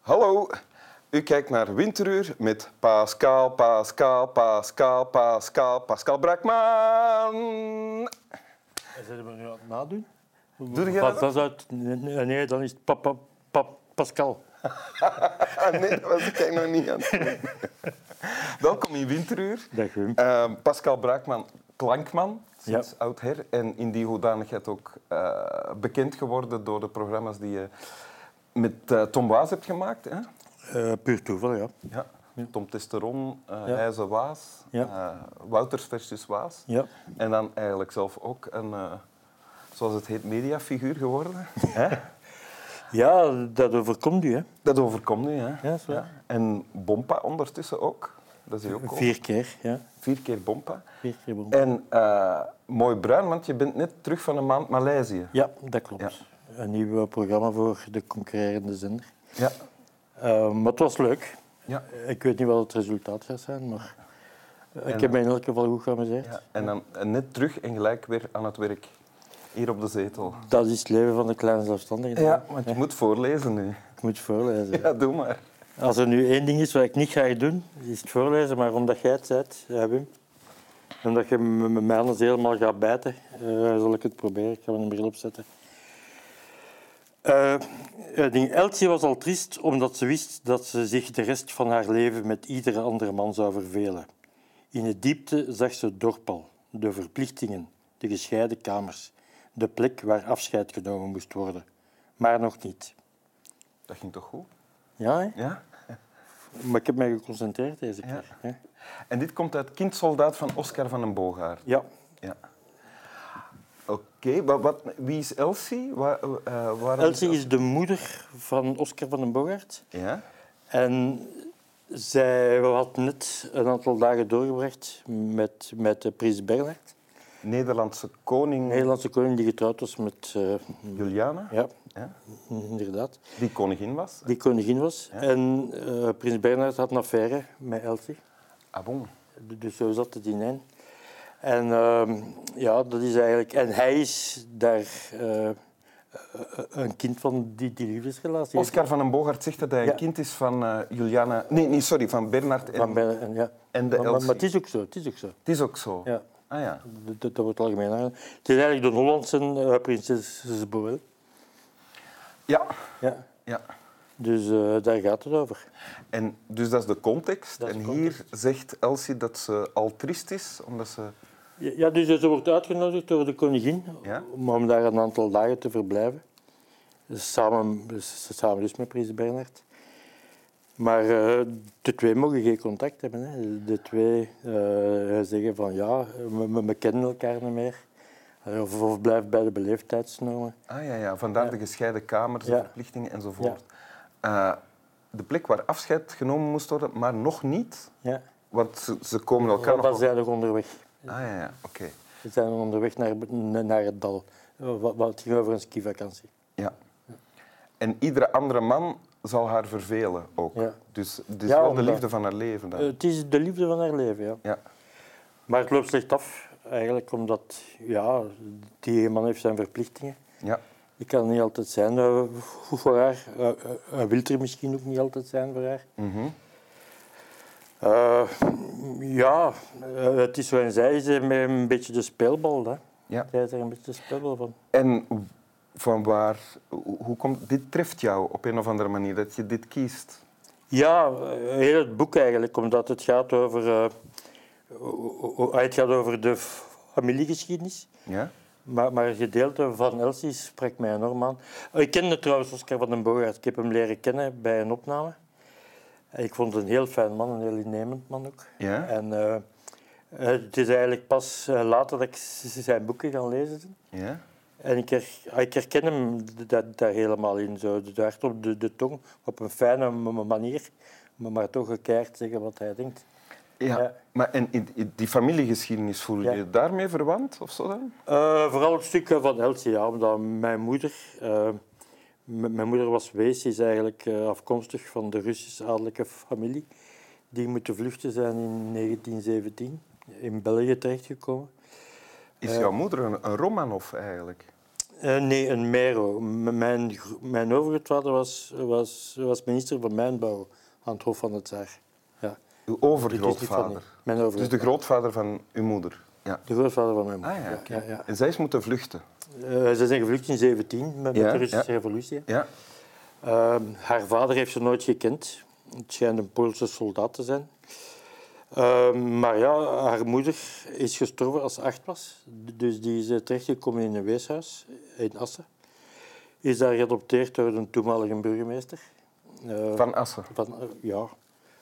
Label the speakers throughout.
Speaker 1: Hallo, u kijkt naar Winteruur met Pascal, Pascal, Pascal, Pascal, Pascal Brakman.
Speaker 2: En Zijn we nu aan het nadoen?
Speaker 1: Doe jij
Speaker 2: Pas
Speaker 1: dat?
Speaker 2: dat uit. Nee, nee, nee, dan is het pa, pa, pa, Pascal.
Speaker 1: Ah, nee, dat was ik nog niet aan het doen. Welkom in Winteruur.
Speaker 2: Dag Wim.
Speaker 1: Eh, Pascal Braakman, klankman, sinds
Speaker 2: Ja.
Speaker 1: oudher. En in die hoedanigheid ook eh, bekend geworden door de programma's die je met eh, Tom Waas hebt gemaakt. Hè?
Speaker 2: Eh, puur toeval, ja.
Speaker 1: Ja. Tom Testeron, eh
Speaker 2: Ja.
Speaker 1: IJzer Waas,
Speaker 2: Ja.
Speaker 1: eh, Wouters versus Waas.
Speaker 2: Ja.
Speaker 1: En dan eigenlijk zelf ook een, eh, zoals het heet, mediafiguur geworden. hè?
Speaker 2: Ja, dat overkomt u, hè.
Speaker 1: Dat overkomt nu, hè?
Speaker 2: Ja, is waar.
Speaker 1: En Bompa ondertussen ook. Dat is hij ook al.
Speaker 2: Vier keer, ja.
Speaker 1: Vier keer Bompa.
Speaker 2: Vier keer bom.
Speaker 1: En eh, mooi bruin, want je bent net terug van een maand Maleisië.
Speaker 2: Ja, dat klopt. Een nieuw eh, programma voor de concurrerende zender.
Speaker 1: Ja.
Speaker 2: Eh, maar het was leuk.
Speaker 1: ja.
Speaker 2: Ik weet niet wat het resultaat gaat zijn, maar ik heb mij in elk geval goed geamuseerd.
Speaker 1: ja. En dan eh, net terug en gelijk weer aan het werk. Hier op de zetel.
Speaker 2: Dat is het leven van de kleine zelfstandige.
Speaker 1: Ja, want je moet voorlezen nu.
Speaker 2: Ik moet voorlezen.
Speaker 1: Ja, doe maar.
Speaker 2: Als er nu één ding is wat ik niet ga doen, is het voorlezen. Maar omdat jij het zet, ja, Wim, omdat je me me- mij anders helemaal gaat bijten, eh, zal ik het proberen. Ik ga mijn bril opzetten. Eh, eh, ding Elsie was al triest omdat ze wist dat ze zich de rest van haar leven met iedere andere man zou vervelen. In de diepte zag ze het dorp al, de verplichtingen, de gescheiden kamers, de plek waar afscheid genomen moest worden. Maar nog niet.
Speaker 1: Dat ging toch goed?
Speaker 2: Ja, hè?
Speaker 1: Ja.
Speaker 2: Maar ik heb mij geconcentreerd deze keer. hè.
Speaker 1: En dit komt uit Kindsoldaat van Oscar van den Boogaard.
Speaker 2: Ja.
Speaker 1: Ja. Oké, maar wat, wie is Elsie? Wa- eh, waarom
Speaker 2: Elsie is de moeder van Oscar van den Boogaard.
Speaker 1: Ja?
Speaker 2: En zij had net een aantal dagen doorgebracht met, met eh, prins Bernhard.
Speaker 1: Nederlandse koning
Speaker 2: Een Nederlandse koning die getrouwd was met... eh,
Speaker 1: Juliana,
Speaker 2: ja,
Speaker 1: Ja.
Speaker 2: inderdaad.
Speaker 1: die koningin was.
Speaker 2: Die koningin was. En eh, prins Bernhard had een affaire met Elsie.
Speaker 1: Ah bon.
Speaker 2: Dus zo zat het in hen. En ehm, ja, dat is eigenlijk... En hij is daar eh, een kind van die, die liefdesrelatie.
Speaker 1: Oscar van den Boogaard zegt dat hij
Speaker 2: Ja.
Speaker 1: een kind is van eh, Juliana... Nee, nee, sorry, van Bernard en...
Speaker 2: Van bijna- en, ja.
Speaker 1: en de
Speaker 2: maar, maar,
Speaker 1: Elsie.
Speaker 2: maar het is ook zo, het is ook zo.
Speaker 1: Het is ook zo.
Speaker 2: Ja.
Speaker 1: Ah ja.
Speaker 2: Dat, dat wordt algemeen aange- Het is eigenlijk de Hollandse eh, prinses Boel.
Speaker 1: Ja.
Speaker 2: Ja.
Speaker 1: ja.
Speaker 2: Dus eh, daar gaat het over.
Speaker 1: En dus dat is de context.
Speaker 2: Dat is
Speaker 1: en
Speaker 2: de
Speaker 1: hier zegt Elsie dat ze al triest is, omdat ze...
Speaker 2: Ja, ja, dus ze wordt uitgenodigd door de koningin
Speaker 1: Ja.
Speaker 2: om, om daar een aantal dagen te verblijven. Samen, dus- samen dus met prins Bernhard. Maar eh, de twee mogen geen contact hebben. Hè. De twee eh, zeggen van ja, we, we- we kennen elkaar niet meer. Of, of blijf bij de beleefdheidsnormen.
Speaker 1: Ah ja, ja. vandaar de gescheiden kamers, de
Speaker 2: Ja.
Speaker 1: verplichtingen enzovoort. Eh, de plek waar afscheid genomen moest worden, maar nog niet.
Speaker 2: Ja.
Speaker 1: Want ze, ze komen elkaar
Speaker 2: Dan
Speaker 1: nog... wel-
Speaker 2: zijn we nog onderweg.
Speaker 1: Ah ja, ja. oké.
Speaker 2: We zijn onderweg naar, naar het dal. Eh, Wat, wat ging over een skivakantie.
Speaker 1: Ja. En iedere andere man zal haar vervelen ook.
Speaker 2: Ja.
Speaker 1: Dus het is
Speaker 2: Ja,
Speaker 1: wel de
Speaker 2: omdat-
Speaker 1: liefde van haar leven dan.
Speaker 2: Eh, Het is de liefde van haar leven, ja.
Speaker 1: ja.
Speaker 2: Maar het loopt slecht af, eigenlijk, omdat ja, die man heeft zijn verplichtingen.
Speaker 1: ja.
Speaker 2: Die kan niet altijd zijn eh, voor haar. Eh, eh, Hij wil er misschien ook niet altijd zijn voor haar.
Speaker 1: Mhm.
Speaker 2: Eh, ja, eh, het is zo en zij is er met een beetje de speelbal. Hè.
Speaker 1: ja.
Speaker 2: Zij is er een beetje de speelbal van.
Speaker 1: En van waar, hoe hoe komt, dit treft jou op een of andere manier, dat je dit kiest.
Speaker 2: Ja, heel het boek eigenlijk, omdat het gaat over, eh, o- o- het gaat over de familiegeschiedenis.
Speaker 1: Ja?
Speaker 2: Maar, maar een gedeelte van Elsie sprak mij enorm aan. Ik kende trouwens Oscar van den Boogaard. Ik heb hem leren kennen bij een opname. Ik vond het een heel fijn man, een heel innemend man ook.
Speaker 1: Ja?
Speaker 2: En eh, het is eigenlijk pas eh, later dat ik z- z- zijn boeken gaan lezen. ben.
Speaker 1: Ja?
Speaker 2: En ik, her, ah, ik herken hem d- dat, daar helemaal in. Zo, de- de hart op de, de tong, op een fijne m- m- manier. Maar maar toch gekeerd zeggen wat hij denkt.
Speaker 1: Ja.
Speaker 2: Ja.
Speaker 1: Maar en in- in die familiegeschiedenis, voel je
Speaker 2: Ja.
Speaker 1: je daarmee verwant of zo dan?
Speaker 2: Eh, vooral het stuk van Elsie, ja, omdat mijn moeder, eh, m- mijn moeder was wees, is eigenlijk eh, afkomstig van de Russische adellijke familie. Die moeten vluchten zijn in 1917, in België terechtgekomen.
Speaker 1: Is jouw moeder een, een Romanov eigenlijk?
Speaker 2: Eh, Eh, nee, een Mero. M- Mijn, gro- mijn overgrootvader was, was, was minister van Mijnbouw aan het Hof van de Tsaar. Ja.
Speaker 1: Uw
Speaker 2: Dit is niet van
Speaker 1: overgrootvader.
Speaker 2: nu. Mijn
Speaker 1: Dus de
Speaker 2: overgrootvader.
Speaker 1: grootvader van uw moeder. Ja.
Speaker 2: de grootvader van mijn moeder.
Speaker 1: Ah ja, oké.
Speaker 2: ja, ja.
Speaker 1: En zij is moeten vluchten.
Speaker 2: Eh, ze zijn gevlucht in 17 met, met
Speaker 1: Ja,
Speaker 2: de Russische
Speaker 1: ja.
Speaker 2: revolutie.
Speaker 1: Ja.
Speaker 2: Ehm, haar vader heeft ze nooit gekend. Het schijnt een Poolse soldaat te zijn. Ehm, maar ja, haar moeder is gestorven als ze acht was. D- Dus die is eh, terechtgekomen in een weeshuis in Assen. Is daar geadopteerd door een toenmalige burgemeester. Eh,
Speaker 1: Van Assen.
Speaker 2: van, eh, ja,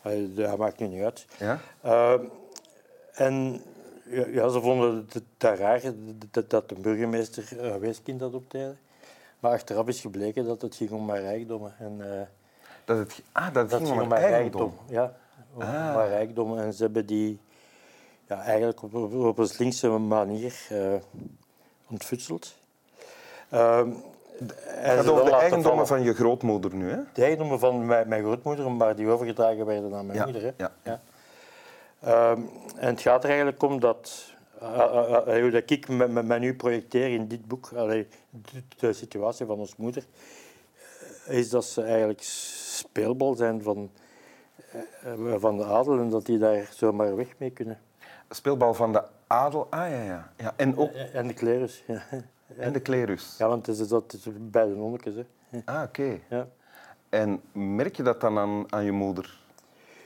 Speaker 2: hij, dat maakt nu niet uit.
Speaker 1: Ja.
Speaker 2: Ehm, en ja, ja, ze vonden het daar raar dat, dat de burgemeester eh, weeskind adopteerde. Maar achteraf is gebleken dat het ging om haar rijkdommen. En, eh,
Speaker 1: Dat het, ah, dat het
Speaker 2: dat
Speaker 1: ging om haar eigendom. Ah.
Speaker 2: Ja, om haar rijkdom. En ze hebben die ja, eigenlijk op, op, op een slinkse manier eh ontfutseld. Ehm, en
Speaker 1: Het
Speaker 2: ze
Speaker 1: gaat over
Speaker 2: dan
Speaker 1: de
Speaker 2: laten
Speaker 1: eigendommen
Speaker 2: vallen.
Speaker 1: van je grootmoeder nu, hè?
Speaker 2: De eigendommen van mijn, mijn grootmoeder, maar die overgedragen werden aan mijn
Speaker 1: Ja,
Speaker 2: moeder. Hè?
Speaker 1: ja.
Speaker 2: Ehm, en het gaat er eigenlijk om dat, eh, eh, eh, hoe dat ik me, me- me nu projecteer in dit boek, allee, de, de situatie van ons moeder, eh, is dat ze eigenlijk speelbal zijn van, eh, eh, van de adel en dat die daar zomaar weg mee kunnen.
Speaker 1: Speelbal van de adel. Ah, ja, ja. ja. En ook
Speaker 2: Eh, En de klerus. Ja,
Speaker 1: en de klerus.
Speaker 2: ja want het is, dat is bij de nonnekes. Hè.
Speaker 1: Ah, oké.
Speaker 2: Ja.
Speaker 1: En merk je dat dan aan, aan je moeder?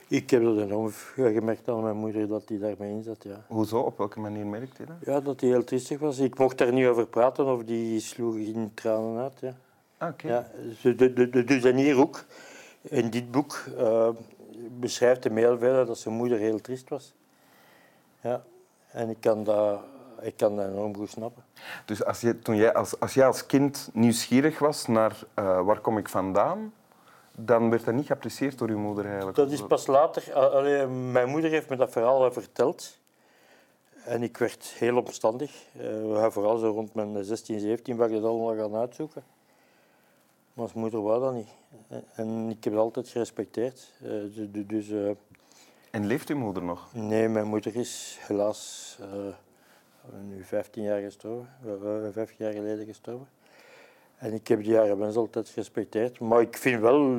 Speaker 2: Ik heb dat enorm gemerkt aan mijn moeder, dat die daarmee in zat. Ja.
Speaker 1: Hoezo? Op welke manier merkt je dat?
Speaker 2: Ja, dat hij heel triestig was. Ik mocht daar niet over praten of die sloeg in tranen uit. Ja.
Speaker 1: Ah, oké.
Speaker 2: Ja, ze- de- de- de- dus en hier ook, in dit boek, eh, beschrijft hij heel veel dat zijn moeder heel triest was. Ja, en ik kan dat, ik kan dat enorm goed snappen.
Speaker 1: Dus als, je, toen jij als, als jij als kind nieuwsgierig was naar eh, waar kom ik vandaan, dan werd dat niet geapprecieerd door je moeder eigenlijk.
Speaker 2: Dat is pas later, a- allee, mijn moeder heeft me dat verhaal eh, verteld. En ik werd heel omstandig. Eh, vooral zo rond mijn 16, 17 ben ik dat allemaal gaan uitzoeken. Maar als moeder wou dat niet. En- En ik heb het altijd gerespecteerd. Eh, du- du- dus eh,
Speaker 1: En leeft je moeder nog?
Speaker 2: nee, mijn moeder is helaas eh, nu 15 jaar gestorven. eh, eh, 15 jaar geleden gestorven. En ik heb die jaren mens altijd gerespecteerd. Maar ik vind wel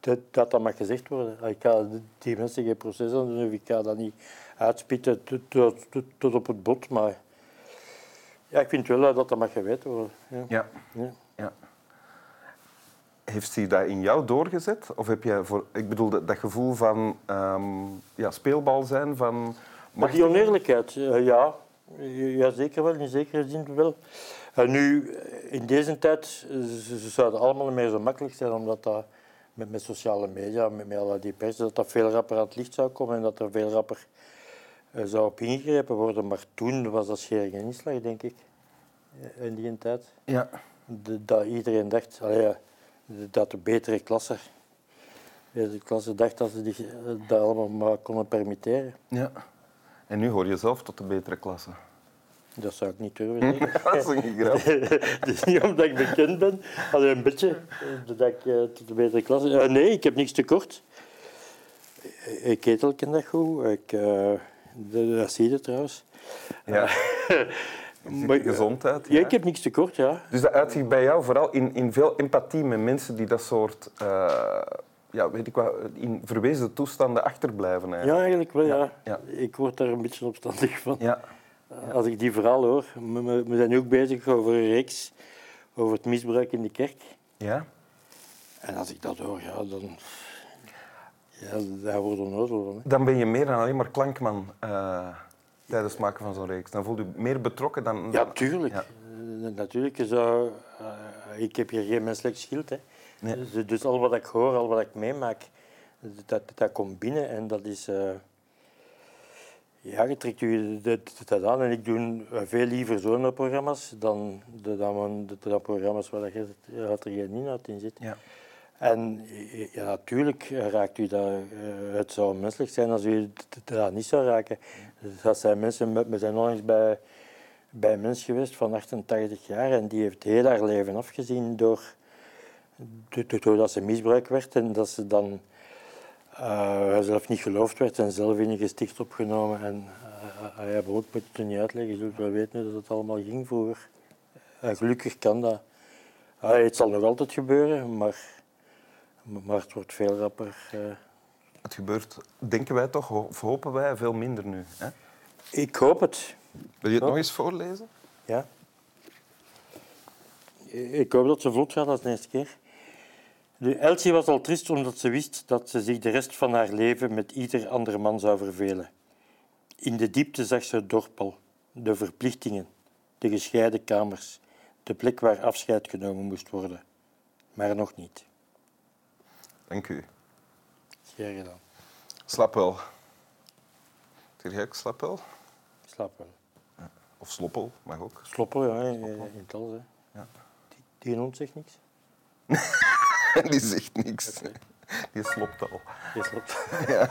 Speaker 2: dat dat, dat mag gezegd worden. Ah, Ik ga die mensen geen proces aan doen. of Ik ga dat niet uitspitten tot, tot, tot- tot op het bot. Maar ja, ik vind wel dat dat mag geweten worden. Ja.
Speaker 1: Ja.
Speaker 2: Ja.
Speaker 1: ja. Heeft hij dat in jou doorgezet? Of heb jij voor, ik bedoel, dat, dat gevoel van ehm, ja, speelbal zijn, van
Speaker 2: Maar
Speaker 1: macht-
Speaker 2: die oneerlijkheid, eh, ja. Ja, zeker wel. In zekere zin wel. En nu, eh, in deze tijd, eh, ze ze zouden allemaal niet meer zo makkelijk zijn, omdat dat met, met sociale media, met, met al die pers, dat dat veel rapper aan het licht zou komen en dat er veel rapper eh, zou op ingegrepen worden. Maar toen was dat schering en inslag, denk ik, eh, in die tijd.
Speaker 1: Ja.
Speaker 2: De- dat iedereen dacht, allee, ja, de- dat de betere klasse, de klasse dacht dat ze zich eh, dat allemaal maar konden permitteren.
Speaker 1: ja. En nu hoor je zelf tot de betere klasse.
Speaker 2: Dat zou ik niet durven zeggen.
Speaker 1: dat is een grap.
Speaker 2: Het is niet omdat ik bekend ben, alleen een beetje. eh, Dat ik eh, tot de betere klasse. Eh, nee, ik heb niks tekort. Eh, Ik eet elke dag goed. Ik, eh, dat dat zie je trouwens.
Speaker 1: Ja.
Speaker 2: Maar,
Speaker 1: Maar,
Speaker 2: eh,
Speaker 1: gezondheid.
Speaker 2: Ja,
Speaker 1: ja.
Speaker 2: ik heb niks tekort, ja.
Speaker 1: Dus dat uitzicht bij jou vooral in, in veel empathie met mensen die dat soort, eh, ja, weet ik wat, in verwezen toestanden achterblijven
Speaker 2: Ja,
Speaker 1: eigenlijk.
Speaker 2: eigenlijk wel, ja.
Speaker 1: ja.
Speaker 2: Ik word daar een beetje opstandig van.
Speaker 1: Ja.
Speaker 2: Als ik die verhaal hoor. We, we- we zijn nu ook bezig over een reeks over het misbruik in de kerk.
Speaker 1: Ja?
Speaker 2: En als ik dat hoor, ja, dan... Ja, daar wordt onnozel van, hè.
Speaker 1: Dan ben je meer dan alleen maar klankman eh, tijdens het maken van zo'n reeks. Dan voel je je meer betrokken dan...
Speaker 2: Ja,
Speaker 1: dan-
Speaker 2: tuurlijk.
Speaker 1: Ja.
Speaker 2: Eh, Natuurlijk, je zou, eh, ik heb hier geen menselijk schild. Hè.
Speaker 1: Nee.
Speaker 2: Dus, dus al wat ik hoor, al wat ik meemaak, dat, dat komt binnen en dat is... eh, ja, je trekt je dat, dat aan en ik doe veel liever zo'n programma's dan, dan, dan, dan programma's waar je, dat er geen inhoud in zit.
Speaker 1: Ja.
Speaker 2: En eh, ja, natuurlijk raakt u dat. eh, Het zou menselijk zijn als u d- d- dat niet zou raken. Dat zijn mensen, met- we zijn onlangs bij, bij een mens geweest van 88 jaar en die heeft heel haar leven afgezien door, do- do- doordat ze misbruik werd en dat ze dan eh, zelf niet geloofd werd en zelf in een gesticht opgenomen. En eh, eh, ja, brood moet je het niet uitleggen, je zult wel weten hoe dat allemaal ging vroeger. Eh, Eh, gelukkig kan dat. Ah, het zal nog altijd gebeuren, maar, maar het wordt veel rapper. eh.
Speaker 1: Het gebeurt, denken wij toch, of hopen wij, veel minder nu. Hè?
Speaker 2: Ik hoop het.
Speaker 1: Wil je het nog eens voorlezen?
Speaker 2: Ja. Ik hoop dat ze vlot gaat als de eerste keer. Nu, Elsie was al triest omdat ze wist dat ze zich de rest van haar leven met ieder ander man zou vervelen. In de diepte zag ze het dorp al, de verplichtingen, de gescheiden kamers, de plek waar afscheid genomen moest worden. Maar nog niet.
Speaker 1: Dank u.
Speaker 2: Graag gedaan.
Speaker 1: Slap wel. Zeg jij ook slap wel?
Speaker 2: Slaap wel.
Speaker 1: Of sloppel, mag ook.
Speaker 2: Sloppen, ja, in- in het alles. Hè.
Speaker 1: Ja.
Speaker 2: Die, die hond zegt niks.
Speaker 1: Die zegt niks. Die slopt al.
Speaker 2: Die slaapt.